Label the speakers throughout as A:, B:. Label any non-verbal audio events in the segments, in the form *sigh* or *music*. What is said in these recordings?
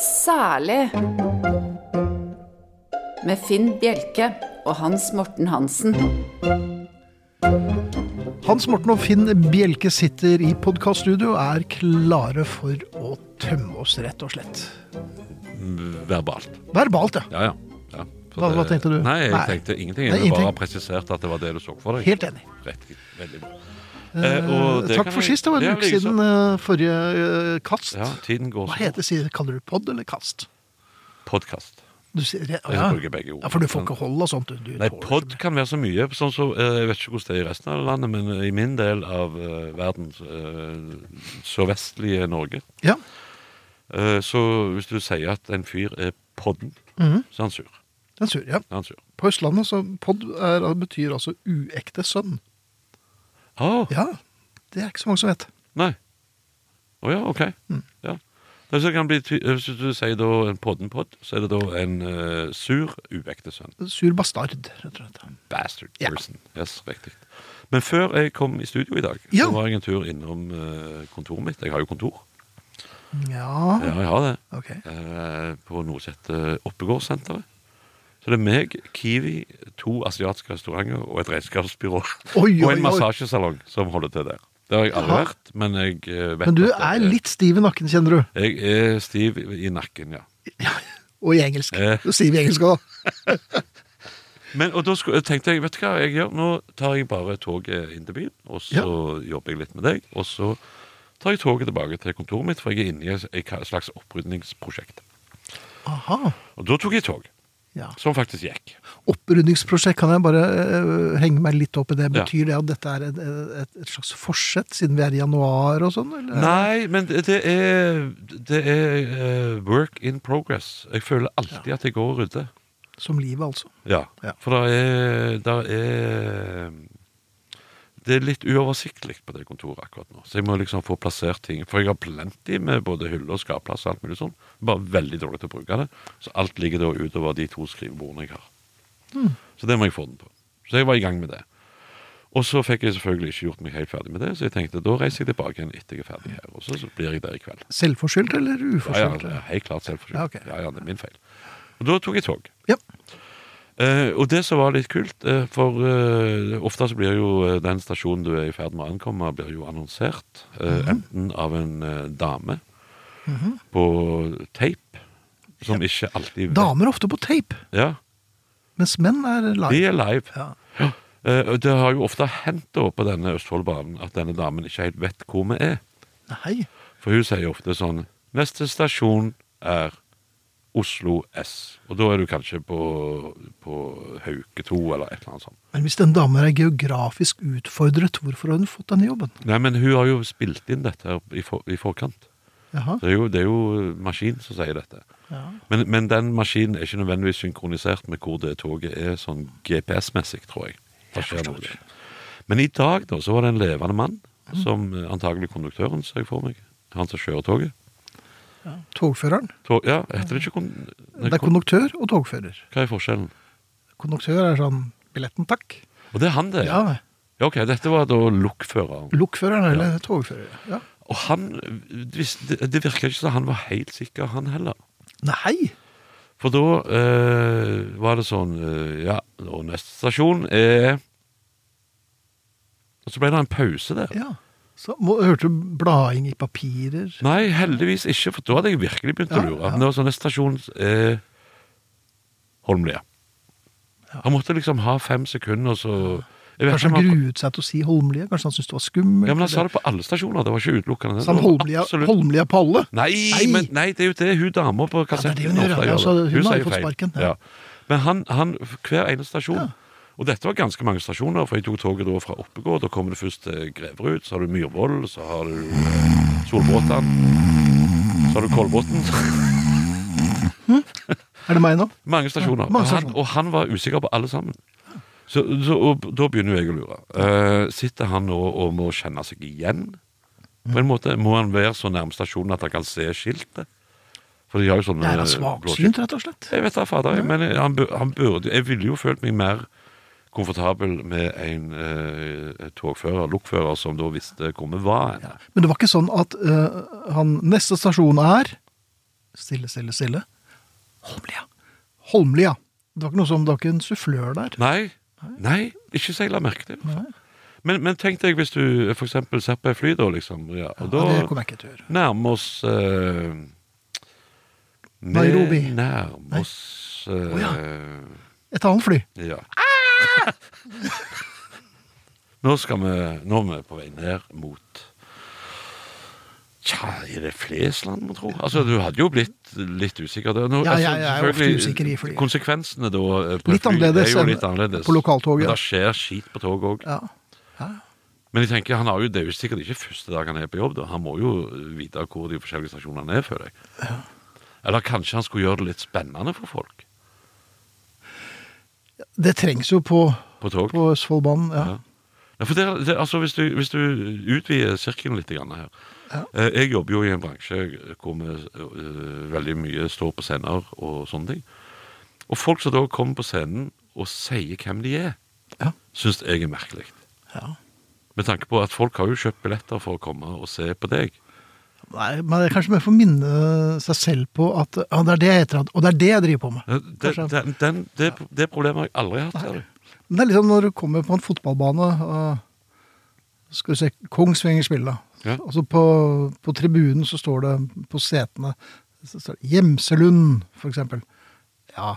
A: Særlig med Finn Bjelke og Hans Morten Hansen.
B: Hans Morten og Finn Bjelke sitter i podkaststudio og er klare for å tømme oss, rett og slett.
C: verbalt.
B: Verbalt, ja.
C: Ja, ja. ja. For
B: Hva- hva tenkte du?
C: Nei, jeg
B: Nei.
C: tenkte
B: Nei,
C: ingenting. Jeg ville
B: ingenting.
C: bare presisert at det var det du så for deg.
B: Helt enig.
C: Riktig. Veldig bra.
B: Eh,
C: Eh, og det
B: Takk
C: kan
B: for
C: jeg-
B: sist. Det var
C: det
B: en
C: er
B: uke
C: liksom-
B: siden eh, forrige eh, kast.
C: Ja, tiden går
B: Hva
C: så
B: heter det? Kaller du pod eller kast?
C: Podkast.
B: Du sier, ja,
C: Jeg
B: ja.
C: bruker begge ord.
B: ja, For du får ikke hold og sånt. Du, du
C: Nei,
B: tåler
C: pod
B: ikke
C: kan være så mye. Sånn som, eh, jeg vet ikke hvordan det er i resten av landet, men i min del av eh, verden, eh, sørvestlige Norge,
B: det. Ja.
C: eh, så hvis du sier at en fyr er podden,
B: Mhm.
C: så er han sur.
B: Den sur, ja.
C: Er han sur.
B: På Østlandet så pod er, betyr altså uekte sønn.
C: Å,
B: Ja, det er ikke så mange som vet.
C: nei. Å ja, ok.
B: Mhm.
C: Ja. Det så kan bli, ty- eh, hvis du sier da en podden-podd, så er det da en eh, sur, uekte sønn.
B: Sur bastard, rett og slett.
C: bastard
B: Ja.
C: person. Yes, riktig. Men før jeg kom i studio i dag,
B: Ja.
C: så var jeg en tur innom eh, kontoret mitt. Jeg har jo kontor.
B: Ja, Ah.
C: Ja, jeg har det.
B: ok.
C: Eh, på noe som heter Oppegårdssenteret. Så det er meg, Kiwi, to asiatiske restauranter og et regnskapsbyrå.
B: Oi,
C: Og
B: oi,
C: en
B: oi.
C: massasjesalong som holder til der. Det har jeg aldri
B: Jaha.
C: vært, men jeg eh, vet
B: Men du
C: at det
B: er litt stiv i nakken, kjenner du.
C: Jeg er stiv i nakken, ja.
B: Og i engelsk.
C: Eh.
B: Du er stiv i engelsk òg.
C: Men, og da skulle, tenkte jeg, vet du hva jeg gjør? Nå tar jeg bare toget inn til byen, og så jobber jeg litt med deg, og så tar jeg toget tilbake til kontoret mitt, for jeg er inne i et- et slags opprydningsprosjekt.
B: Aha.
C: Og da tok jeg tog,
B: Ja.
C: som faktisk gikk.
B: Opprydningsprosjekt, kan jeg bare eh, henge meg litt opp i det?
C: Ja.
B: Betyr det at dette er et, et, et slags forsett, siden vi er i januar og sånn? eller?
C: Nei, men det, det er, det er eh, work in progress. Jeg føler alltid at jeg går og rydder.
B: Som livet, altså.
C: Ja,
B: Ja.
C: for det er, der er Det er litt uoversiktlig på det kontoret akkurat nå. Så jeg må liksom få plassert ting. For jeg har plenty med både hyller og skapplass og alt mulig sånn. Bare veldig dårlig til å bruke det. Så alt ligger da utover de to skrivebordene jeg har.
B: Hmm.
C: Så det må jeg få den på. Så jeg var i gang med det. Og så fikk jeg selvfølgelig ikke gjort meg helt ferdig med det, så jeg tenkte da reiser jeg tilbake igjen etter jeg er ferdig her. Og så, så blir jeg der i kveld.
B: Selvforskyldt eller
C: Ja, ja,
B: uforskyldt?
C: ja, helt klart selvforskyldt.
B: Ja, ok.
C: Ja, ja, det er min feil. Og da tok jeg tog.
B: Ja.
C: Eh, og det som var litt kult, eh, for eh, ofte så blir jo eh, den stasjonen du er i ferd med å ankomme, blir jo annonsert. Eh, Enten av en eh, dame på teip, som ikke alltid vet-
B: Damer er ofte på tape,
C: Ja,
B: mens menn er
C: de
B: live.
C: er live.
B: Ja.
C: Eh, og det har jo ofte hendt da på denne Østfoldbanen at denne damen ikke helt vet hvor vi er.
B: Nei.
C: For hun sier ofte sånn Neste stasjon er Oslo S. Og da er du kanskje på, på Hauke 2 eller et eller annet sånt.
B: Men hvis den damen er geografisk utfordret, hvorfor har hun fått denne jobben?
C: Nei, men hun har jo spilt inn dette her i, for, i forkant.
B: Jaha.
C: Det er jo, det er jo maskin som sier dette.
B: Ja.
C: Men, men den maskinen er ikke nødvendigvis synkronisert med hvor det toget er sånn GPS-messig, tror jeg. Det skjer noe der. Men i dag da, så var det en levende mann, som eh, antagelig konduktøren, ser jeg for meg. Han som kjører toget.
B: Togføreren.
C: Tog, ja, heter det ikke kon... nei,
B: Det er
C: kon
B: konduktør og togfører.
C: hva er forskjellen?
B: Konduktør er sånn Billetten, takk.
C: Og det er han det?
B: Ja,
C: Ja, ok, dette var da lokføreren.
B: Lokføreren eller togfører. Ja.
C: Og han, vis- det, det virket ikke som han var helt sikker, han heller.
B: Nei!
C: For da eh, var det sånn eh, Ja, og neste stasjon er Og så ble det en pause der.
B: Ja. Så må, hørte du blading i papirer?
C: Nei, heldigvis ikke, for da hadde jeg virkelig begynt å
B: Ja,
C: lure.
B: ja.
C: Men det var sånn, neste stasjon er Holmlia.
B: Ja.
C: Han måtte liksom ha fem sekunder, og så jeg vet
B: Kanskje
C: ikke om
B: han
C: han,
B: gruet seg til å si Holmlia? Kanskje han syntes det var skummelt?
C: ja, men han sa
B: eller-
C: det på alle stasjoner. Det var ikke utelukkende. den.
B: Sa han
C: Det var
B: Holmlia,
C: absolutt-
B: Holmlia på alle?
C: Nei,
B: Nei.
C: Men, nei, det er jo det hun dama
B: det
C: på
B: er det
C: kassetten
B: hun gjør,
C: ofte
B: ja, altså, hun har
C: sier
B: jo fått
C: feil.
B: sparken, ja.
C: Ja. Men han, han, hver ene stasjon Og dette var ganske mange stasjoner, for jeg tok toget da fra Oppegård. Da kommer du først til Greverud, så har du Myrvoll, så har du eh, Solbråten. Så har du Kolbotn.
B: Er det meg nå?
C: Mange stasjoner.
B: Ja, mange
C: Og,
B: stasjoner.
C: han, og han var usikker på alle sammen. Så, så og, da begynner jo jeg å lure. Eh, sitter han nå og må kjenne seg igjen? På en måte Må han være så nærme stasjonen at han kan se skiltet? For de har jo sånne
B: Det er han
C: eh,
B: svaksynt,
C: blå skilt.
B: rett og slett.
C: Jeg vet da, fader. Jeg, men eh, han, bu- han burde Jeg ville jo følt meg mer komfortabel med en eh, togfører, lokfører, som da visste hvor vi var.
B: eh, Men det var ikke sånn at øh, han Neste stasjon er Stille, stille, stille. Holmlia. Holmlia. Det var ikke noe som, det var ikke en sufflør der.
C: Nei, nei, ikke så jeg la merke til. i hvert fall. Men, men tenk deg hvis du for eksempel ser på et fly, da, liksom. Ja, og da
B: Ja, det kommer jeg ikke til å gjøre.
C: nærmer oss eh, vi
B: Nairobi.
C: Nærmer oss eh,
B: Et annet fly.
C: ja.
B: Ah!
C: *laughs* nå skal vi Nå er vi på vei ned mot Tja, er det Flesland, må tro? Altså, Du hadde jo blitt litt usikker der. Nå,
B: Ja,
C: altså,
B: jeg- jeg er ofte
C: selvfølgelig,
B: usikker i fly.
C: Konsekvensene da eh, på
B: Litt
C: et fly
B: annerledes
C: er jo
B: enn
C: litt annerledes.
B: på lokaltoget.
C: Men Det skjer skit på toget òg.
B: Ja.
C: Men jeg tenker, han har jo, det er jo sikkert ikke første dag han er på jobb. Da. Han må jo vite hvor de forskjellige stasjonene er, føler jeg. Eller kanskje han skulle gjøre det litt spennende for folk
B: Det trengs jo på,
C: på tog.
B: på Østfoldbanen. Ja.
C: Ja. Ja, for det, det, altså, hvis, du, hvis du utvider sirkelen litt grann her Eh, Jeg jobber jo i en bransje hvor vi eh, veldig mye står på scener og sånne ting. Og folk som da kommer på scenen og sier hvem de er,
B: Ja.
C: syns jeg er merkelig.
B: Ja.
C: Med tanke på at folk har jo kjøpt billetter for å komme og se på deg.
B: Nei, men det er kanskje mer for å minne seg selv på at ja, det er det jeg heter, og det er det jeg driver på med.
C: Ja, Eh, Det,
B: Kanskje.
C: den, den, det, det problemet har jeg aldri hatt. ser du.
B: Men det er liksom når du kommer på en fotballbane og skal du se Kongsvinger spille.
C: Ja.
B: Altså på, på tribunen så står det på setene så står det Gjemselund, for eksempel. Ja,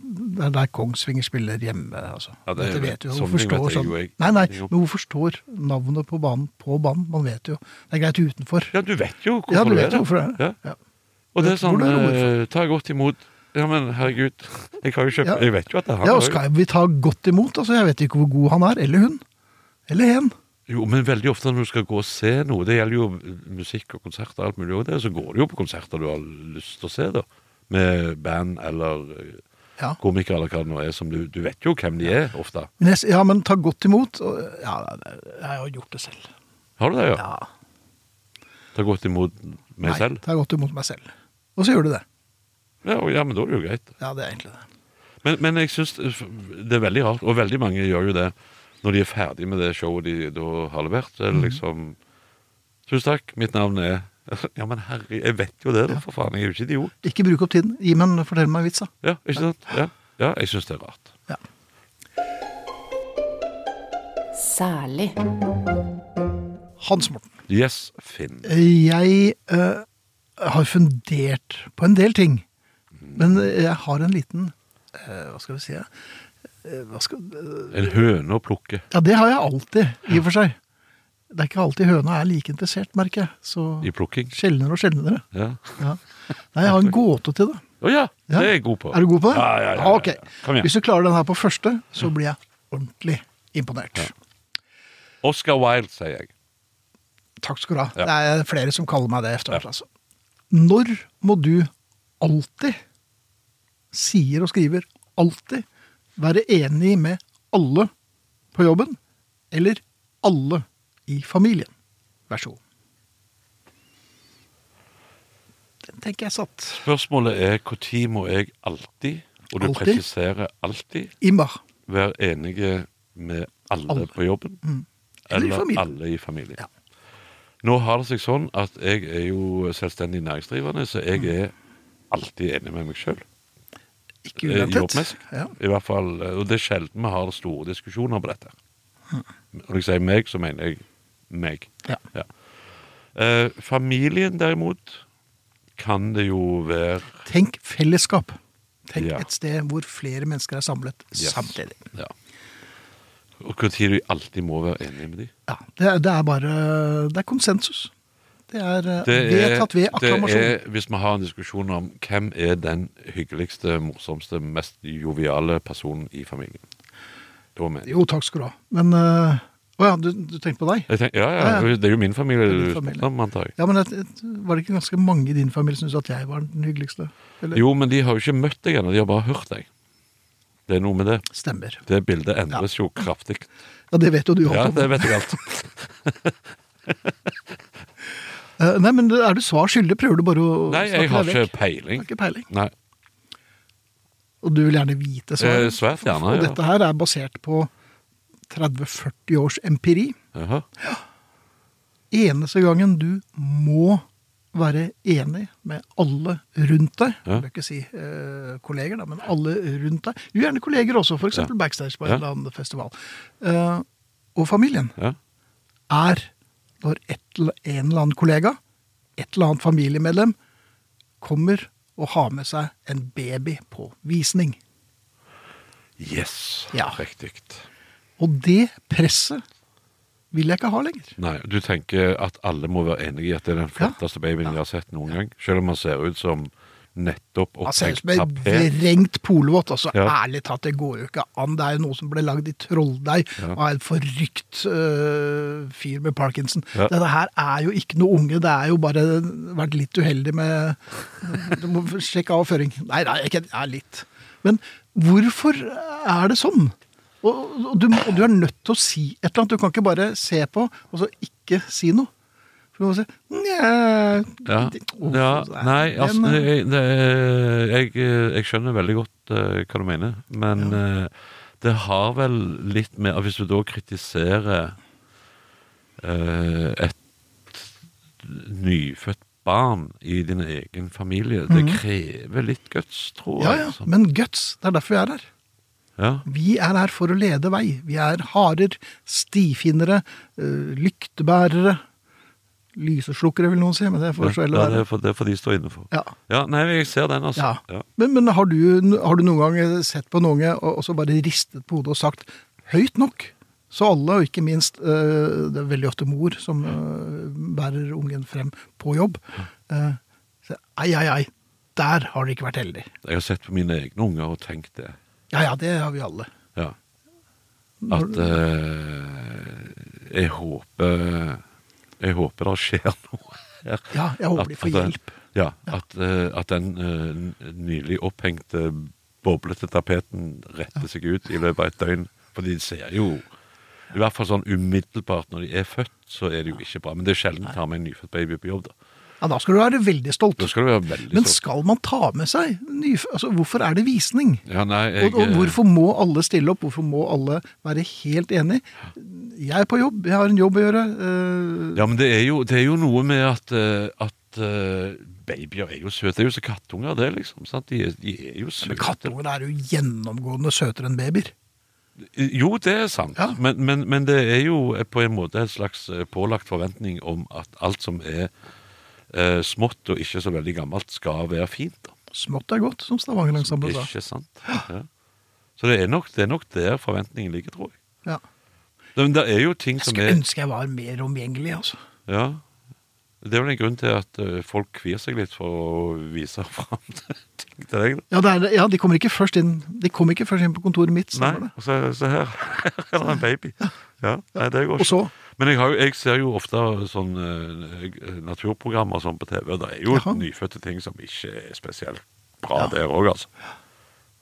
B: det er der Kongsvinger spiller hjemme, altså.
C: Ja, det
B: Dette
C: vet-
B: vet du jo.
C: sånne
B: Hvorfor
C: ting vet
B: står
C: jeg
B: sånn?
C: jo, jeg-
B: Nei, nei,
C: jo.
B: men hvorfor står navnet på banen på banen? Man vet jo. Det er greit utenfor.
C: Ja, du vet jo hvorfor
B: Ja, du
C: er
B: vet
C: der.
B: jo hvorfor det er det.
C: Ja.
B: Ja.
C: Og det er
B: Vet hvor
C: sånn
B: det er ord
C: eh, Ta godt imot. Ja, men herregud. Jeg, har jo kjøpt,
B: Ja.
C: jeg vet jo at det er han.
B: Ja, og
C: også.
B: skal vi ta godt imot? Altså, jeg vet ikke hvor god han er, eller hun. Eller hen.
C: Jo, men veldig ofte når du skal gå og se noe, det gjelder jo musikk og konserter og alt mulig, og det, så går du jo på konserter du har lyst til å se, da. Med band eller eh,
B: Ja.
C: komikere eller hva det nå er, som du, du vet jo hvem de er, ofte.
B: Men jeg, s- ja, men ta godt imot. og- Ja, jeg har gjort det selv.
C: Har du det, ja?
B: Ja.
C: Ta godt imot meg
B: Nei,
C: selv?
B: ta godt imot meg selv. Og så gjør du det.
C: Ja, og- ja, men da er det jo greit.
B: Ja, det er egentlig det.
C: Men, men jeg syns det er veldig rart, og veldig mange gjør jo det når de er ferdig med det showet de da har levert. Så er det liksom Tusen takk, mitt navn er *laughs* Ja, men herre, jeg vet jo det, da, for faen. Jeg er jo ikke idiot.
B: Ikke bruk opp tiden. Gi meg en fortell meg en vits, da.
C: Ja, ikke sant? Ja, ja jeg syns det er rart.
B: Ja.
A: Særlig.
B: Hans Morten.
C: Yes, Finn.
B: Jeg eh, har fundert på en del ting.
C: Mm.
B: Men jeg har en liten eh, Hva skal vi si? eh, hva skal,
C: En høne å plukke.
B: ja, det har jeg alltid, i og for seg. Det er ikke alltid høna er like interessert, merker jeg. Så
C: I plukking.
B: sjeldnere og sjeldnere.
C: Ja.
B: Ja. Nei, jeg har en gåte til det.
C: Å ja,
B: Ja.
C: det er jeg god på.
B: Er du god på det?
C: Ja, ja, ja, ja,
B: Ah,
C: ja.
B: ok.
C: Kom igjen.
B: Hvis du klarer den her på første, så blir jeg ordentlig imponert.
C: Oscar Wilde, sier jeg.
B: Takk skal du ha.
C: Ja.
B: Det er flere som kaller meg det efter hvert. Altså. Når må du alltid, sier og skriver alltid, være enig med alle på jobben, eller alle i familien? Vær så god. Den tenker jeg satt.
C: Spørsmålet er når må jeg alltid, og du
B: Alltid?
C: presiserer alltid,
B: Immer.
C: være enige med alle,
B: Alle. Mm.
C: på jobben?
B: Eller i
C: Eller,
B: familien.
C: alle i familien.
B: Ja.
C: Nå har det seg sånn at jeg er jo selvstendig næringsdrivende, så jeg
B: Mm.
C: er alltid enig med meg sjøl.
B: Ikke
C: Eh,
B: uventet.
C: jobbmessig.
B: Ja.
C: I hvert fall, eh, og det er sjelden vi har store diskusjoner på dette. Når jeg sier meg, så mener jeg meg.
B: Hm. Ja.
C: Ja. Eh, familien, derimot, kan det jo være
B: Tenk fellesskap. Tenk
C: Ja.
B: et sted hvor flere mennesker er samlet
C: Yes.
B: samtidig.
C: ja. Og når du alltid må være enig med dem.
B: Ja, det, er- det er bare Det er konsensus. Det er eh, vedtatt ved akklamasjon.
C: det er hvis vi har en diskusjon om hvem er den hyggeligste, morsomste, mest joviale personen i familien. Da mener jeg.
B: Jo, takk skal du ha. Men eh, Å ja, du, du tenkte på deg?
C: jeg tenker, ja, ja,
B: Ja, ja.
C: Det er jo min familie
B: Det er din
C: du spurte
B: familie.
C: om, antar jeg.
B: Ja, men et, et, Var det ikke ganske mange i din familie som syntes at jeg var den hyggeligste? Eller?
C: Jo, men de har jo ikke møtt deg ennå, de har bare hørt deg. Det er noe med det.
B: Stemmer.
C: Det bildet endres jo kraftig.
B: Ja, det vet jo du
C: Ja,
B: alt om.
C: det vet jeg
B: *laughs*
C: alt.
B: Eh, Nei, men er du svar skyldig? Prøver du bare å
C: Nei, jeg
B: snakke
C: har
B: deg
C: ikke
B: vekk? Du
C: peiling.
B: har ikke peiling.
C: Nei.
B: Og du vil gjerne vite
C: Eh,
B: svaret?
C: svært gjerne,
B: Og
C: ja.
B: dette her er basert på 30-40 års empiri.
C: Jaha.
B: Eneste gangen du må være enig med alle rundt deg.
C: Ja.
B: Jeg vil ikke si eh, kolleger, da, men alle rundt deg. Jo, gjerne kolleger også, f.eks.
C: Ja.
B: eksempel backstage på en
C: Ja.
B: eller annen festival. Eh, og familien
C: Ja.
B: er når et, eller- en eller annen kollega, et eller annet familiemedlem, kommer og har med seg en baby på visning.
C: Yes.
B: Ja.
C: Riktig.
B: Og det presset vil jeg ikke ha lenger.
C: Nei, du tenker at alle må være enige i at det er den flotteste babyen de har sett noen gang? Selv om han ser ut som nettopp
B: Han ser ut
C: opptenkt
B: som en
C: tapet?
B: vrengt polvott. Altså,
C: Ja.
B: Ærlig talt, det går jo ikke an. Det er jo noe som ble lagd i trolldeig
C: Ja.
B: av en forrykt øh, fyr med parkinson.
C: Ja.
B: Dette her er jo ikke noe unge, det er jo bare vært litt uheldig med Du må sjekke avføring. Nei, nei, ikke ja, litt. Men hvorfor er det sånn? Og, og, du, og du er nødt til å si et eller annet. Du kan ikke bare se på og så ikke si noe. For du må si Nja
C: Ja.
B: det- Uff,
C: ja.
B: nei,
C: Nei, altså
B: den, øh,
C: jeg, det, er- jeg, eh, jeg skjønner veldig godt eh, hva du mener, men eh, det har vel litt med at Hvis du da kritiserer eh, et nyfødt barn i din egen familie, det krever litt guts, tror
B: Mhm. Ja,
C: jeg.
B: ja.
C: altså.
B: Men guts. Det er derfor vi er her.
C: ja.
B: Vi er her for å lede vei. Vi er harer, stifinnere, øh, lyktebærere. Lyseslukkere, vil noen si, men det får så
C: ja,
B: heller
C: det,
B: være.
C: er for, det får de stå inne for.
B: Ja.
C: Ja, nei, jeg ser den, altså.
B: Ja. Men, men har, du, har du noen gang sett på en unge og, og så bare ristet på hodet og sagt høyt nok? Så alle, og ikke minst øh, Det er veldig ofte mor som øh, bærer ungen frem på jobb. eh, så, Ei, ei, ei. Der har dere ikke vært heldig.
C: Jeg har sett på mine egne unger og tenkt det.
B: Ja ja, det har vi alle.
C: Ja. At eh, jeg håper Jeg håper det skjer *laughs* noe her.
B: Ja, jeg håper de får
C: at,
B: hjelp.
C: Ja, at, eh, at den eh, n- nylig opphengte, boblete tapeten retter seg ut i løpet av et døgn. For de ser jo I hvert fall sånn umiddelbart når de er født, så er det jo ikke bra. Men det er sjelden du tar med en nyfødt baby på jobb, da.
B: Ja, Da skal du være veldig stolt.
C: Da skal du være veldig
B: Men
C: stolt.
B: skal man ta med seg nyf... Altså, hvorfor er det visning?
C: Ja, nei, jeg,
B: Og, og
C: eh,
B: hvorfor må alle stille opp? Hvorfor må alle være helt enige? Jeg er på jobb, jeg har en jobb å gjøre. eh,
C: Ja, men det er jo, det er jo noe med at, eh, at eh, babyer er jo søte. Det er jo så kattunger, det, liksom. Sant? De, er, de er jo søte.
B: men Kattunger er jo gjennomgående søtere enn babyer.
C: Jo, det er sant.
B: Ja.
C: Men, men, men det er jo eh, på en måte en slags eh, pålagt forventning om at alt som er eh, smått og ikke så veldig gammelt, skal være fint. Da.
B: Smått er godt, som Stavangerlangsamblet sa.
C: Ikke sant? Ja. Så det er, nok, det er nok der forventningen ligger, tror jeg.
B: Ja.
C: Men det er jo ting
B: Jeg
C: som
B: skulle
C: er
B: ønske jeg var mer omgjengelig, altså.
C: Ja. Det er vel en grunn til at eh, folk kvir seg litt for å vise *laughs* fram ting til deg. da.
B: Ja, det er, ja de kommer ikke først inn De kom ikke først inn på kontoret mitt. stemmer
C: Nei,
B: det?
C: og så, så her *laughs* her er det en baby. Ja, nei, det går
B: Og så
C: Men jeg, har, jo- jeg ser jo ofte sånn eh, naturprogrammer sånn på TV, og det er jo
B: Jaha.
C: nyfødte ting som ikke er spesielt bra der òg, altså.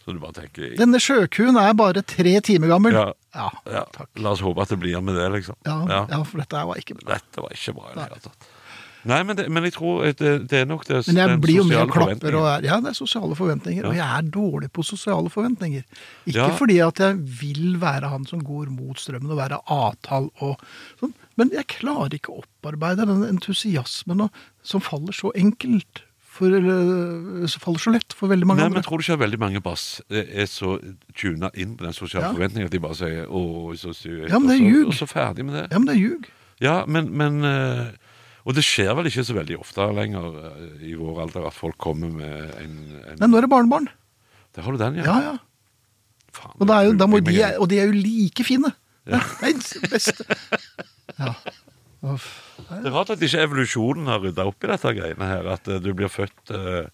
C: Så du bare tenker
B: Denne sjøkuen er bare tre timer gammel.
C: Ja.
B: ja,
C: ja,
B: takk.
C: La oss håpe at det blir med det, liksom.
B: Ja,
C: Ja.
B: ja, for dette her var ikke bra.
C: Dette var ikke bra i det hele tatt. Nei, men, det, men jeg tror eh, det, det er nok det
B: Men jeg
C: den
B: blir jo med
C: sosiale
B: og klapper. Og
C: forventningen.
B: er, ja, det er sosiale forventninger. Og jeg er dårlig på sosiale forventninger. Ikke
C: Ja.
B: fordi at jeg vil være han som går mot strømmen og være avtall og sånn, men jeg klarer ikke å opparbeide den entusiasmen og, som faller så enkelt. For, eller, som faller så lett for veldig mange
C: Nei, men
B: andre.
C: Tror du ikke at veldig mange bare s- er så tuna inn på den sosiale
B: Ja.
C: forventningen at de bare sier 'Å, så søt',
B: Ja, men
C: og
B: det er
C: så-
B: ljug.
C: og så ferdig med det?
B: Ja, men det er ljug.
C: Ja, men, men eh, Og det skjer vel ikke så veldig ofte lenger eh, i vår alder at folk kommer med en, en
B: Nei, nå er det barnebarn.
C: Der har du den, ja.
B: Ja, ja.
C: Faen,
B: Og, det er jo, da må
C: jeg-
B: de,
C: jeg-
B: og de er jo like fine.
C: Ja.
B: Nei, det beste.
C: *laughs*
B: Ja. Uff.
C: Det er rart at ikke evolusjonen har rydda opp i dette greiene her. At eh, du blir født eh,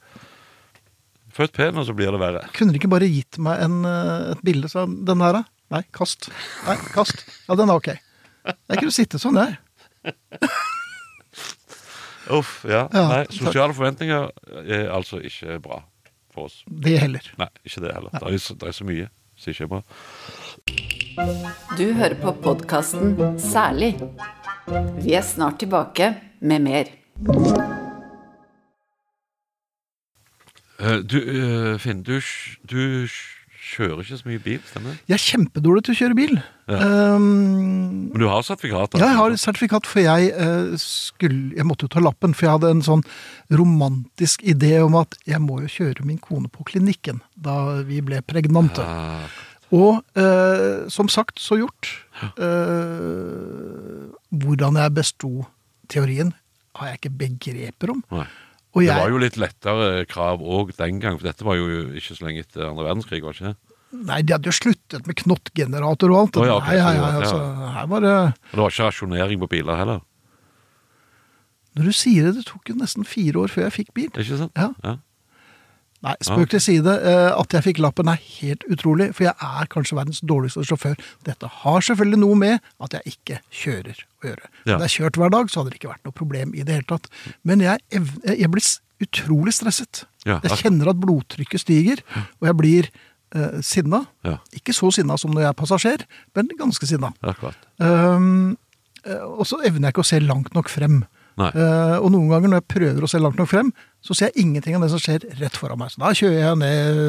C: Født pen, og så blir det verre.
B: Kunne de ikke bare gitt meg en, eh, et bilde sa han, den her, da? Nei, kast. Nei, kast. Ja, den er ok. Jeg kunne sitte sånn, jeg.
C: Uff, ja.
B: Ja,
C: Nei,
B: takk.
C: sosiale forventninger er altså ikke bra for oss.
B: Det heller.
C: Nei, ikke det heller. Det er, så- det er så mye som ikke er bra.
A: Du hører på podkasten Særlig. Vi er snart tilbake med mer.
C: Eh, Du, eh, Finn, du, sj- du sj- Kjører ikke så mye bil, stemmer det?
B: Jeg er kjempedårlig til å kjøre bil. Ehm,
C: Men du har sertifikat? da?
B: Ja, jeg har et sertifikat, for jeg eh, skulle Jeg måtte jo ta lappen, for jeg hadde en sånn romantisk idé om at jeg må jo kjøre min kone på klinikken da vi ble pregnante.
C: Ah,
B: Og eh, som sagt, så gjort. Eh, hvordan jeg besto teorien, har jeg ikke begreper om.
C: nei.
B: Og
C: Det
B: jeg,
C: var jo litt lettere krav òg den gang, for dette var jo ikke så lenge etter andre verdenskrig, var det ikke? det?
B: nei, de hadde jo sluttet med knottgenerator og alt.
C: Å ja, ok,
B: nei,
C: så
B: nei, nei,
C: det var-
B: altså, her var det
C: Og det var ikke rasjonering på biler heller.
B: Når du sier det, det tok jo nesten fire år før jeg fikk bil.
C: Det er ikke sant?
B: Ja. Nei, spøk til side. eh, At jeg fikk lappen er helt utrolig, for jeg er kanskje verdens dårligste sjåfør. Dette har selvfølgelig noe med at jeg ikke kjører å gjøre.
C: Ja.
B: Hadde jeg kjørt hver dag, så hadde det ikke vært noe problem i det hele tatt. Men jeg, ev- eh, jeg blir s- utrolig stresset.
C: Ja,
B: jeg
C: akkurat.
B: kjenner at blodtrykket stiger, og jeg blir eh, sinna.
C: Ja.
B: Ikke så sinna som når jeg er passasjer, men ganske sinna.
C: Akkurat.
B: Ehm, eh, og så evner jeg ikke å se langt nok frem.
C: Nei.
B: Eh, og noen ganger når jeg prøver å se langt nok frem, så ser jeg ingenting av det som skjer rett foran meg. Så da kjører jeg ned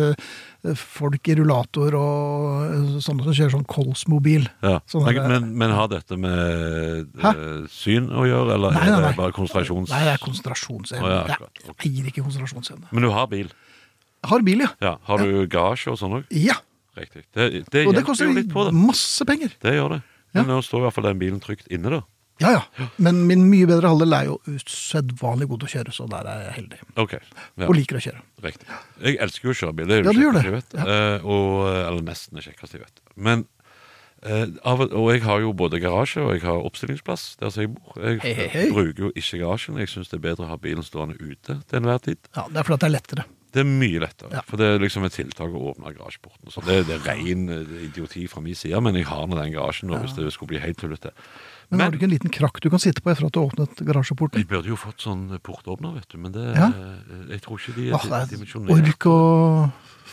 B: eh, folk i rullator og eh, sånne som kjører sånn Kolsmobil.
C: Ja.
B: Sånn er
C: men,
B: det.
C: men, men har dette med
B: Hæ?
C: eh, syn å gjøre, eller
B: Nei, nei,
C: er
B: nei.
C: det bare konsentrasjons...
B: Nei, det er konsentrasjonsevne.
C: Å, ja,
B: Jeg-
C: akkurat.
B: jeg eier ikke konsentrasjonsevne.
C: Men du har bil.
B: Jeg har bil, ja.
C: Ja. Har du garasje og sånn òg?
B: Ja,
C: Riktig. Det, det
B: Og det
C: hjelper
B: koster
C: jo litt på det.
B: masse penger.
C: Det gjør det.
B: Ja.
C: Men nå står i hvert fall den bilen trygt inne, da.
B: Ja, ja. Men min mye bedre halvdel er jo usedvanlig god til å kjøre, så der er jeg heldig.
C: Ok. Ja,
B: Og liker å kjøre.
C: Riktig. Jeg elsker jo å kjøre bil. Det er jo
B: Ja, du gjør
C: kjekkeste
B: det.
C: jeg vet. Eh, og, eller nesten det kjekkeste jeg vet. Men eh, av, og- Og jeg har jo både garasje og jeg har oppstillingsplass der som jeg bor. Jeg
B: Hei, hei, hei.
C: bruker jo ikke garasjen. Jeg syns det er bedre å ha bilen stående ute til enhver tid.
B: Ja, Det er fordi at det er lettere.
C: Det er mye lettere.
B: Ja.
C: For det er liksom et tiltak å åpne garasjeporten. og sånn. det, det er ren eh, idioti fra min side, men jeg har nå den garasjen nå, hvis det skulle bli helt tullete.
B: Men, har
C: Men
B: du ikke en liten krakk du kan sitte på etter at du har åpnet garasjeporten?
C: jeg burde jo fått sånn portåpner, vet du, men det
B: Ja.
C: eh, Jeg tror ikke de
B: Åh, det
C: er di-
B: er et
C: dimensjonert.
B: Ah, ork å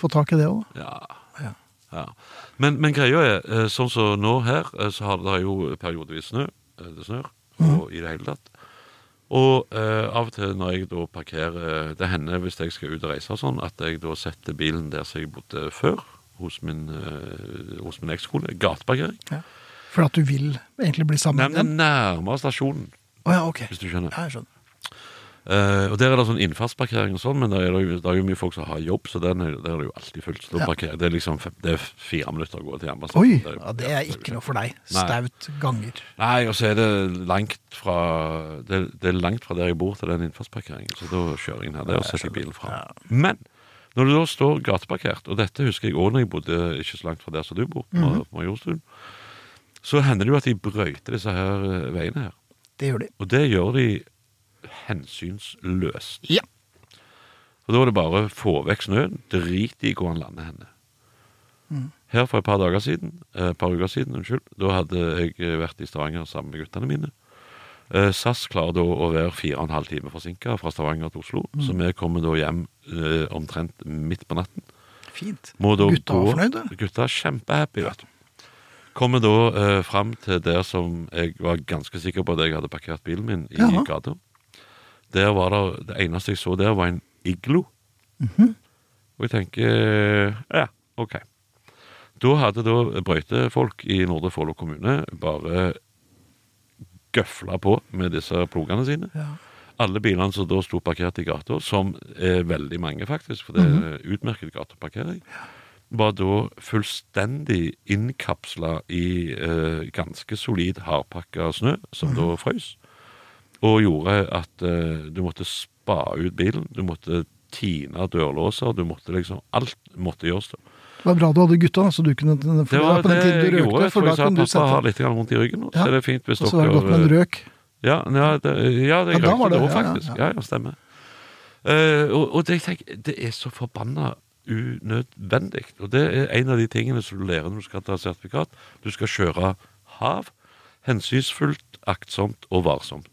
B: få tak i det òg.
C: Ja.
B: Ja.
C: ja. Men, men greia er, eh, sånn som nå her, eh, så har det jo periodevis snø. eh, Det snør.
B: Mm.
C: Og i det hele tatt. Og eh, av og til når jeg da parkerer eh, Det hender hvis jeg skal ut og reise og sånn, at jeg da setter bilen der som jeg bodde før, hos min, eh, hos min ekskone. Gateparkering.
B: Ja. For at du vil egentlig bli
C: Nei,
B: sammen
C: men det
B: igjen?
C: er nærmere stasjonen,
B: Å ja, ok.
C: hvis du skjønner.
B: Ja, jeg skjønner.
C: Eh, og Der er det sånn innfartsparkering og sånn, men der er det, jo, der er jo mye folk som har jobb, så den er, der er det jo alltid fullt. Så da
B: Ja.
C: parkerer- Det er liksom fem, det er fire minutter å gå
B: Oi!
C: til jernbanestasjonen.
B: Ja, det er ikke noe for deg.
C: Nei.
B: Staut ganger.
C: Nei, og så er det langt fra det, det er langt fra der jeg bor til den innfartsparkeringen. Så da kjører jeg ned der og setter bilen fra. Men når du da står gateparkert, og dette husker jeg òg når jeg bodde ikke så langt fra der som du bor, på,
B: Mhm.
C: på Majorstuen, så hender det jo at de brøyter disse her eh, veiene her.
B: Det gjør de.
C: Og det gjør de hensynsløst.
B: Ja.
C: Og da er det bare å få vekk snøen, drit i hvor han lander henne. Her for et par dager siden, eh, par uker siden, unnskyld, da hadde jeg eh, vært i Stavanger sammen med guttene mine. Eh, SAS klarer da å være fire og en halv time forsinka fra Stavanger til Oslo, så vi kommer da hjem eh, omtrent midt på natten.
B: Fint.
C: Må da
B: Gutta
C: gå,
B: var fornøyde?
C: Gutta er kjempehappy, vet du. Kommer da eh, fram til der som jeg var ganske sikker på at jeg hadde parkert bilen min i
B: Jaha.
C: gata. Der var det, det eneste jeg så der, var en iglo.
B: Mhm.
C: Og jeg tenker eh, Ja, OK. Da hadde da brøytefolk i Nordre Follo kommune bare gøfla på med disse plogene sine.
B: Ja.
C: Alle bilene som da sto parkert i gata, som er veldig mange faktisk, for det er
B: Mhm.
C: utmerket gateparkering, var da fullstendig innkapsla i eh, ganske solid hardpakka snø, som
B: Mhm.
C: da frøs, og gjorde at eh, du måtte spa ut bilen, du måtte tine dørlåser, du måtte liksom Alt måtte gjøres. da.
B: Det var bra du hadde gutta, så du kunne for
C: Det
B: det
C: var
B: var på den
C: det
B: tiden du
C: jeg gjorde.
B: røkte.
C: Jeg tror
B: For da
C: jeg sa at
B: kunne du
C: pappa har
B: sette
C: litt grann vondt i ryggen nå,
B: Ja.
C: så det er fint hvis
B: Og så var det godt med
C: dere eh,
B: en røk.
C: ja, ja, det, ja, det
B: Ja, da
C: røykte
B: var det-
C: det òg,
B: ja, ja,
C: faktisk.
B: ja.
C: Ja, ja, stemmer. Eh, og, og det, jeg tenker, det er så forbanna unødvendig. Og det er en av de tingene som du lærer når du skal ta sertifikat. Du skal kjøre hav. Hensynsfullt, aktsomt og varsomt.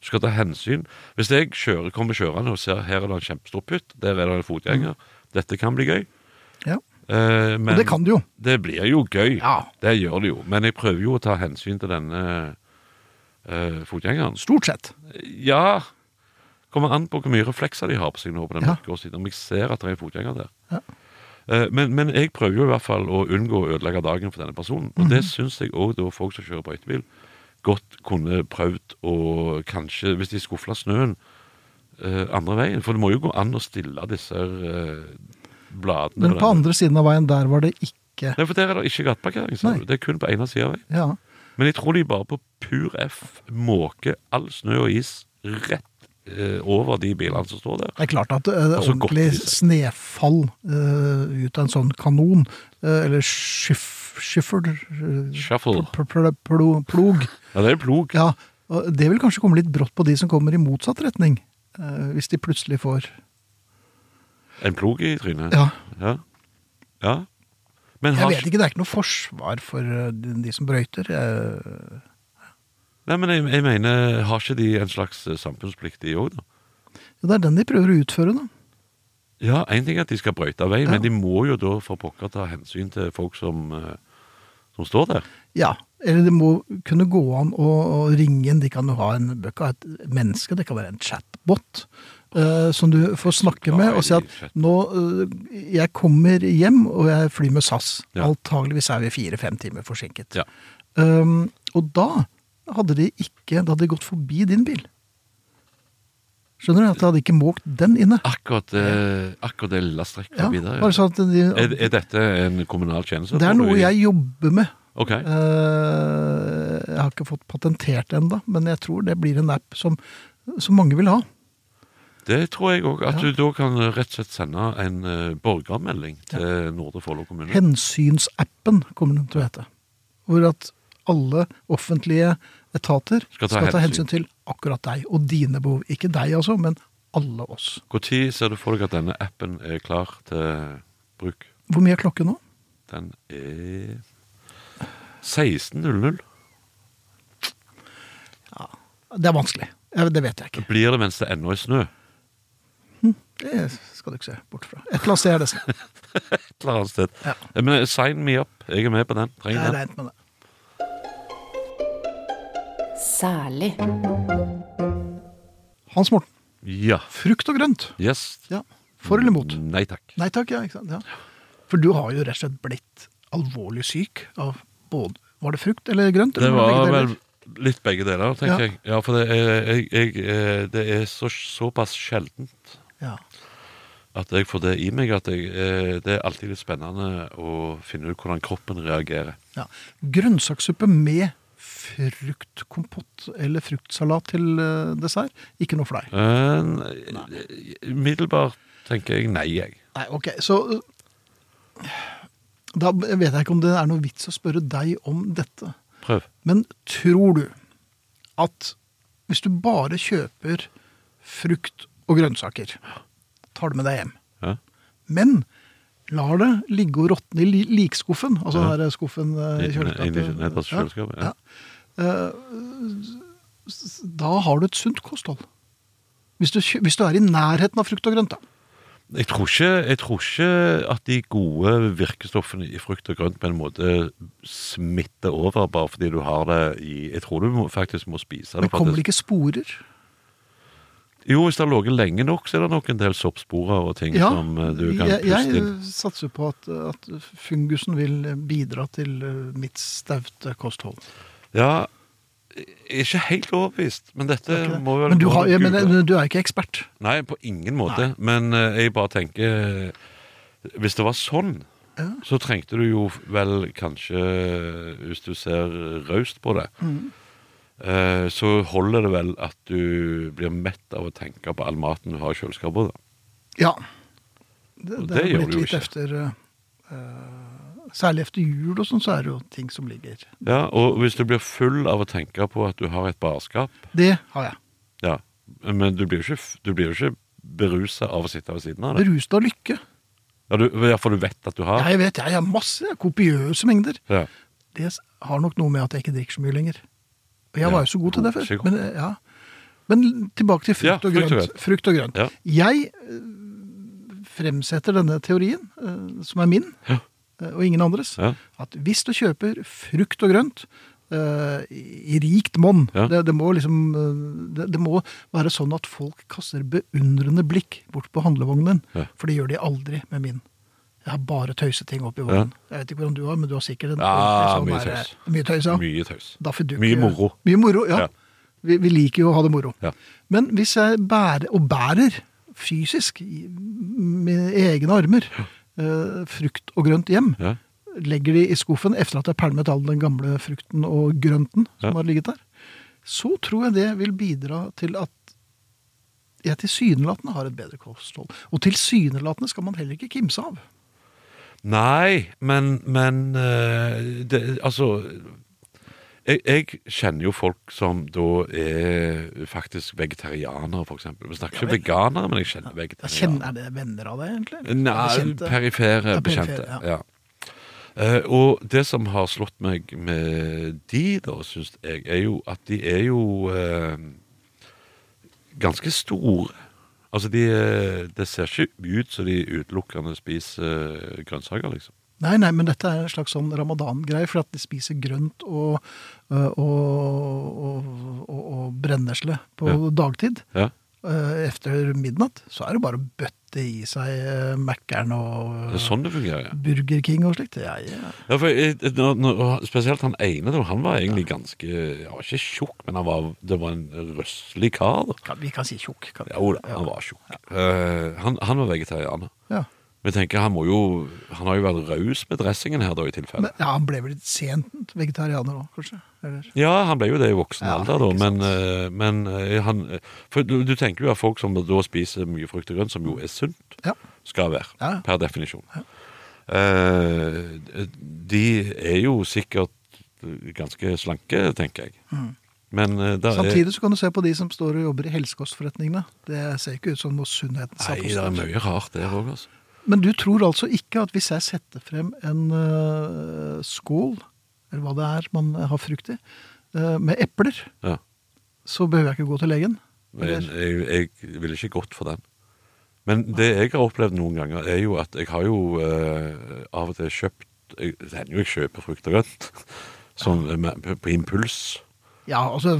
C: Du skal ta hensyn. Hvis jeg kjører, kommer kjørende og ser her er det en kjempestor putt, der er det en fotgjenger, dette kan bli gøy.
B: Ja.
C: Eh, men
B: Mm. Og det kan du jo.
C: det blir jo gøy.
B: Ja.
C: Det gjør det jo. Men jeg prøver jo å ta hensyn til denne eh, fotgjengeren.
B: Stort sett.
C: Ja Kommer an på hvor mye reflekser de har på seg nå på den
B: Ja.
C: mørke årstiden. Om jeg ser at det er en fotgjenger der.
B: Ja.
C: Eh, Men, men jeg prøver jo i hvert fall å unngå å ødelegge dagen for denne personen. Og
B: Mhm.
C: det syns jeg òg folk som kjører brøytebil, godt kunne prøvd å kanskje, hvis de skufla snøen eh, andre veien For det må jo gå an å stille disse eh, bladene.
B: Men
C: eller-
B: på andre siden av veien, der var det ikke
C: Nei, for der er det ikke gateparkering. sa
B: Nei.
C: du. Det er kun på ene sida av veien.
B: Ja.
C: Men jeg tror de bare på pur F måker all snø og is rett eh, over de bilene som står der.
B: Det er klart at eh,
C: Altså, godt
B: ordentlig
C: i seg.
B: snefall eh, ut av en sånn kanon, eh, eller skyff, skyffel eh,
C: Shuffle.
B: pl- pl- plo- Plog.
C: Ja, det er en plog.
B: Ja, og det vil kanskje komme litt brått på de som kommer i motsatt retning. eh, Hvis de plutselig får
C: En plog i trynet.
B: Ja.
C: Ja. ja. Men
B: Jeg
C: har
B: vet ikke, det er ikke noe forsvar for eh, de de som brøyter. eh,
C: Nei, men jeg, jeg mener, har ikke de en slags eh, samfunnsplikt de òg, da?
B: Det er den de prøver å utføre, da.
C: Ja, én ting er at de skal brøyte vei,
B: Ja.
C: men de må jo da for pokker ta hensyn til folk som, eh, som står der.
B: Ja, eller det må kunne gå an å, å ringe en. De kan jo ha en bøkka, et menneske, det kan være en chatbot. eh, som du får snakke med og si at
C: Nei, chat-
B: nå eh, Jeg kommer hjem, og jeg flyr med SAS.
C: Ja.
B: Antageligvis er vi fire-fem timer forsinket.
C: Ja.
B: Um, og da hadde de ikke Da hadde de gått forbi din bil. Skjønner du? At de hadde ikke måkt den inne.
C: Akkurat, eh, akkurat det lille strekket
B: Ja,
C: forbi der.
B: bare sånn at de,
C: Er, er dette en kommunal tjeneste?
B: det er
C: tror du?
B: noe jeg jobber med.
C: Ok.
B: Eh, Jeg har ikke fått patentert det ennå, men jeg tror det blir en app som, som mange vil ha.
C: Det tror jeg òg. At
B: Ja.
C: du da kan rett og slett sende en eh, borgermelding til Nordre Follo
B: Mm.
C: kommune.
B: Hensynsappen kommer den til å hete. Hvor at alle offentlige etater
C: Skal
B: skal
C: ta
B: ta,
C: hensyn.
B: hensyn. til akkurat deg og dine behov. Ikke deg, altså, men alle oss.
C: Når ser du for deg at denne appen er klar til bruk?
B: Hvor mye er klokken nå?
C: Den er 16.00.
B: Det er vanskelig. Jeg- Det vet jeg ikke.
C: Blir det mens det ennå er snø?
B: Det skal du ikke se bort fra. Et eller annet sted er det sånn. *laughs* snart.
C: Et eller annet sted.
B: Ja.
C: Eh, Men eh, sign me up. Jeg er med på den.
B: Jeg
C: Trenger
B: har
C: den.
B: regnet med det.
A: Særlig.
B: Hans Morten,
C: Ja.
B: frukt og grønt.
C: Yes.
B: Ja. For eller mot?
C: Nei takk.
B: Nei takk, ja. Ikke sant? ja. For du har jo rett og slett blitt alvorlig syk av både Var det frukt eller grønt?
C: Det
B: eller
C: var
B: begge deler?
C: vel litt begge deler, tenker
B: Ja.
C: jeg. Ja, for det er, jeg, jeg, eh, det er så, såpass sjeldent
B: ja.
C: at jeg får det i meg at jeg, eh, det er alltid litt spennende å finne ut hvordan kroppen reagerer.
B: ja. Grønnsakssuppe med fruktkompott eller fruktsalat til eh, dessert. Ikke noe for deg.
C: Eh, Umiddelbart tenker jeg nei, jeg.
B: Nei, ok, så eh, Da vet jeg ikke om det er noe vits å spørre deg om dette.
C: Prøv.
B: Men tror du at hvis du bare kjøper frukt og grønnsaker, tar det med deg hjem
C: Ja.
B: Men lar det ligge og råtne i li- likskuffen. Altså den der skuffen eh, i
C: Inni- inni- nederst i
B: kjøleskapet.
C: kjøleskapet, ja.
B: Eh, s- Da har du et sunt kosthold. Hvis du, kjø- hvis du er i nærheten av frukt og grønt, da.
C: Jeg tror, ikke, jeg tror ikke at de gode virkestoffene i frukt og grønt på en måte smitter over bare fordi du har det i Jeg tror du må, faktisk må spise
B: Men
C: det. for at
B: kommer det
C: det
B: ikke sporer?
C: jo, hvis det har ligget lenge nok, så er det nok en del soppsporer og ting
B: Ja,
C: som eh, du kan
B: jeg, jeg
C: puste inn.
B: satser på at, at fungusen vil bidra til eh, mitt staute kosthold.
C: Ja, jeg er ikke helt overbevist, men dette
B: Ikke det?
C: må vel
B: Men du,
C: bare
B: har, ja, men,
C: google.
B: men du er ikke ekspert.
C: Nei, på ingen måte. Men eh, jeg bare tenker eh, Hvis det var sånn,
B: Ja.
C: så trengte du jo vel kanskje eh, Hvis du ser raust på det, eh, så holder det vel at du blir mett av å tenke på all maten du har i kjøleskapet. Da.
B: Ja. Det,
C: Og det
B: er
C: gjør
B: blitt
C: du jo
B: litt
C: ikke.
B: efter eh, eh, Særlig efter jul og sånn, så er det jo ting som ligger
C: Ja, og hvis du blir full av å tenke på at du har et barskap
B: Det har jeg.
C: ja, Men du blir jo ikke, f- du blir jo ikke berusa av å sitte ved siden av det.
B: Beruset av lykke.
C: Ja, du, ja, for du vet at du har.
B: Jeg vet, jeg har masse jeg har kopiøse mengder.
C: Ja.
B: Det s- har nok noe med at jeg ikke drikker så mye lenger. Og jeg
C: Ja,
B: var jo så god til det
C: ikke
B: før.
C: godt.
B: Men, eh, ja. men tilbake til frukt,
C: Ja,
B: og,
C: frukt og
B: grønt.
C: grønt.
B: frukt og grønt.
C: Ja.
B: Jeg eh, fremsetter denne teorien, eh, som er min,
C: Ja.
B: eh, og ingen andres,
C: Ja.
B: at hvis du kjøper frukt og grønt eh, i i rikt monn
C: Ja.
B: det, det, må liksom, eh, det, det må være sånn at folk kaster beundrende blikk bort på handlevognen.
C: Ja.
B: For det gjør de aldri med min. Jeg Jeg har bare tøyseting oppi vognen. Jeg vet ikke hvordan du har, men du har sikkert en
C: Ja,
B: ordentlig
C: mye
B: sånn der-
C: tøys.
B: Mye tøys, ja.
C: Mye taus.
B: Daffy Duck.
C: Mye moro.
B: Mye moro, ja.
C: Ja.
B: Vi, vi liker jo å ha det moro.
C: Ja.
B: Men hvis jeg bærer, og bærer fysisk, i- med egne armer, eh, frukt og grønt hjem,
C: Ja.
B: legger de i skuffen efter at jeg pælmet all den gamle frukten og grønten som
C: Ja.
B: har ligget der, så tror jeg det vil bidra til at jeg tilsynelatende har et bedre kosthold. Og tilsynelatende skal man heller ikke kimse av.
C: Nei, men, men eh, det, Altså jeg, jeg kjenner jo folk som da er faktisk vegetarianere, f.eks. Vi snakker ikke
B: Ja vel.
C: veganere, men jeg kjenner
B: Jeg
C: vegetarianere.
B: kjenner, er det venner av deg, egentlig? eller?
C: Nei,
B: Bekjente?
C: perifere
B: Ja,
C: bekjente.
B: perifere,
C: Ja. Eh, og det som har slått meg med de, da, syns jeg, er jo at de er jo eh, ganske store. Altså, de, er- det ser ikke ut som de utelukkende spiser grønnsaker, liksom.
B: Nei, nei, men dette er en slags sånn ramadan-greie, for at de spiser grønt og, øh, og, og, og, og brennesle på
C: Ja.
B: dagtid.
C: Ja.
B: Eh, Efter midnatt så er det bare å bøtte i seg eh, Mækkern og øh,
C: Det er sånn det fungerer, ja.
B: Burger King og slikt. Ja, ja.
C: ja for eh, jeg, jeg- når, når, spesielt han ene, da, han var egentlig ganske Han var ikke tjukk, men han var, det var en røslig kar. da.
B: Kan, vi kan si tjukk. Kan vi?
C: Jo da, han var tjukk. Eh, han, han var vegetarianer.
B: Ja.
C: Men jeg tenker, han må jo Han har jo vært raus med dressingen her, da, i tilfelle.
B: Men, ja, han ble vel litt sent vegetarianer òg, kanskje? Eller?
C: Ja, han ble jo det i voksen
B: Ja,
C: alder, da,
B: ikke sant.
C: men, eh, men eh, han eh, For du, du tenker jo at folk som da spiser mye frukt og grønt, som jo er sunt,
B: Ja.
C: skal være.
B: Ja.
C: Per definisjon. Eh, de er jo sikkert ganske slanke, tenker jeg. Men eh, det
B: Mm.
C: er
B: Samtidig så kan du se på de som står og jobber i helsekostforretningene. Det ser ikke ut som noe sunnhetens
C: Nei, det er mye rart der òg, altså.
B: Men du tror altså ikke at hvis jeg setter frem en øh, skål, eller hva det er man har frukt i, øh, med epler,
C: Ja.
B: så behøver jeg ikke gå til legen?
C: Men jeg, jeg ville ikke gått for den. Men det jeg har opplevd noen ganger, er jo at jeg har jo eh, av og til kjøpt jeg, Det hender jo jeg kjøper frukt og grønt *laughs* sånn, eh, med- på, på impuls.
B: Ja, altså,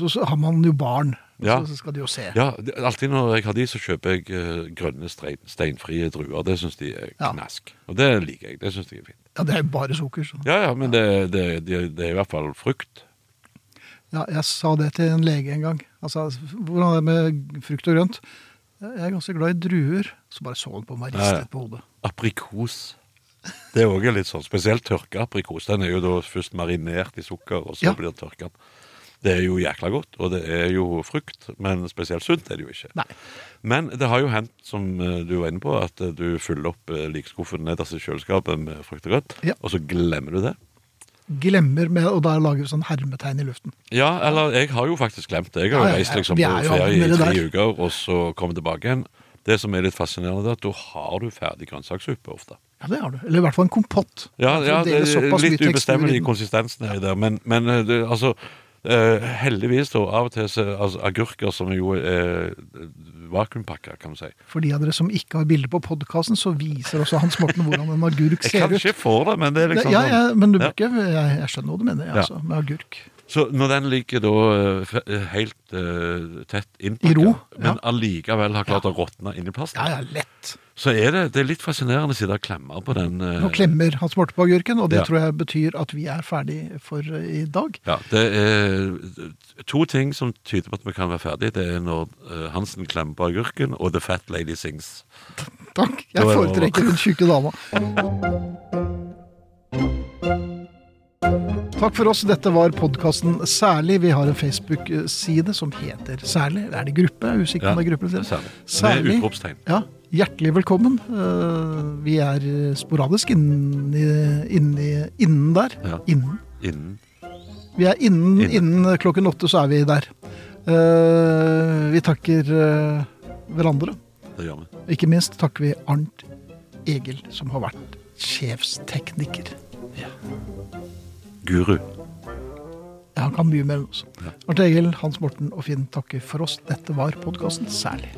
B: så, så har man jo barn,
C: Ja.
B: så, så skal de jo se.
C: Ja, det- Alltid når jeg har de, så kjøper jeg eh, grønne stein, steinfrie druer. Det syns de er
B: Ja.
C: knask. Og det liker jeg. Det syns jeg er fint.
B: Ja, det er jo bare sukker. Så.
C: Ja, ja, men det, det, det, det er i hvert fall frukt.
B: Ja, jeg sa det til en lege en gang. Altså, hvordan er det med frukt og grønt? Jeg er ganske glad i druer. Så bare så han på meg,
C: Ja, ja.
B: ristet på hodet.
C: Aprikos. Det er også litt sånn, spesielt tørka aprikos. Den er jo da først marinert i sukker, og så
B: Ja.
C: blir den tørka. Det er jo jækla godt, og det er jo frukt, men spesielt sunt er det jo ikke.
B: Nei.
C: Men det har jo hendt, som eh, du var inne på, at eh, du fyller opp eh, likskuffen nederst i kjøleskapet med frukt og grønt,
B: Ja.
C: og så glemmer du det.
B: Glemmer med, og da lager vi sånn hermetegn i luften.
C: Ja, eller jeg har jo faktisk glemt det. Jeg har
B: Ja,
C: jo
B: ja,
C: reist
B: ja.
C: liksom
B: Vi
C: på
B: er jo
C: ferie i
B: allerede
C: tre
B: der.
C: uker, og så kommet tilbake igjen. Det som er litt fascinerende, det er at da har du ferdig grønnsakssuppe ofte.
B: Ja, det har du. Eller i hvert fall en kompott.
C: Ja,
B: For
C: ja
B: å
C: det
B: dele
C: er
B: såpass mye
C: litt
B: tekstur i
C: ubestemmelig i
B: den.
C: konsistensen her i der, men, men eh, det, altså eh, heldigvis, da, av og til så, altså, agurker som jo er eh, vakuumpakker, kan du si.
B: For de av dere som ikke har bilde på podkasten, så viser også Hans Morten hvordan en agurk
C: Jeg
B: ser
C: kan
B: ut.
C: ikke få det, men det er liksom
B: ja, ja,
C: sånn.
B: men du
C: Ja.
B: må ikke, jeg, jeg skjønner hva du mener, jeg,
C: Ja.
B: altså, med agurk.
C: Så når den ligger da eh, f- eh, helt eh, tett
B: I
C: innpakka,
B: ro, ja.
C: men allikevel har klart å råtne inni plasten,
B: Ja, ja, lett.
C: så er det, det er litt fascinerende å sitte og klemme på den. eh,
B: Nå klemmer Hans Morten på agurken, og det
C: Ja.
B: tror jeg betyr at vi er ferdig for eh, i dag.
C: Ja, det er to ting som tyder på at vi kan være ferdige. Det er når eh, Hansen klemmer på agurken, og The Fat Lady Sings.
B: Takk. Jeg
C: Da er det
B: foretrekker hun tjukke dama. Takk for oss. Dette var podkasten Særlig. Vi har en Facebook-side som heter Særlig. Eller er det gruppe? Jeg er usikker på om det er gruppe. eller side.
C: Særlig. Med utropstegn.
B: Ja, hjertelig velkommen. Eh, Vi er sporadisk innen, i- innen, i- innen der.
C: Ja.
B: Innen.
C: Innen.
B: Vi er innen,
C: Innen.
B: innen klokken åtte, så er vi der. Eh, Vi takker eh, hverandre.
C: Det gjør vi.
B: Ikke minst takker vi Arnt Egil, som har vært sjefstekniker.
C: Guru.
B: Ja, Han kan mye mer enn oss. Arnt Egil, Hans Morten og Finn takker for oss. Dette var podkasten Særlig.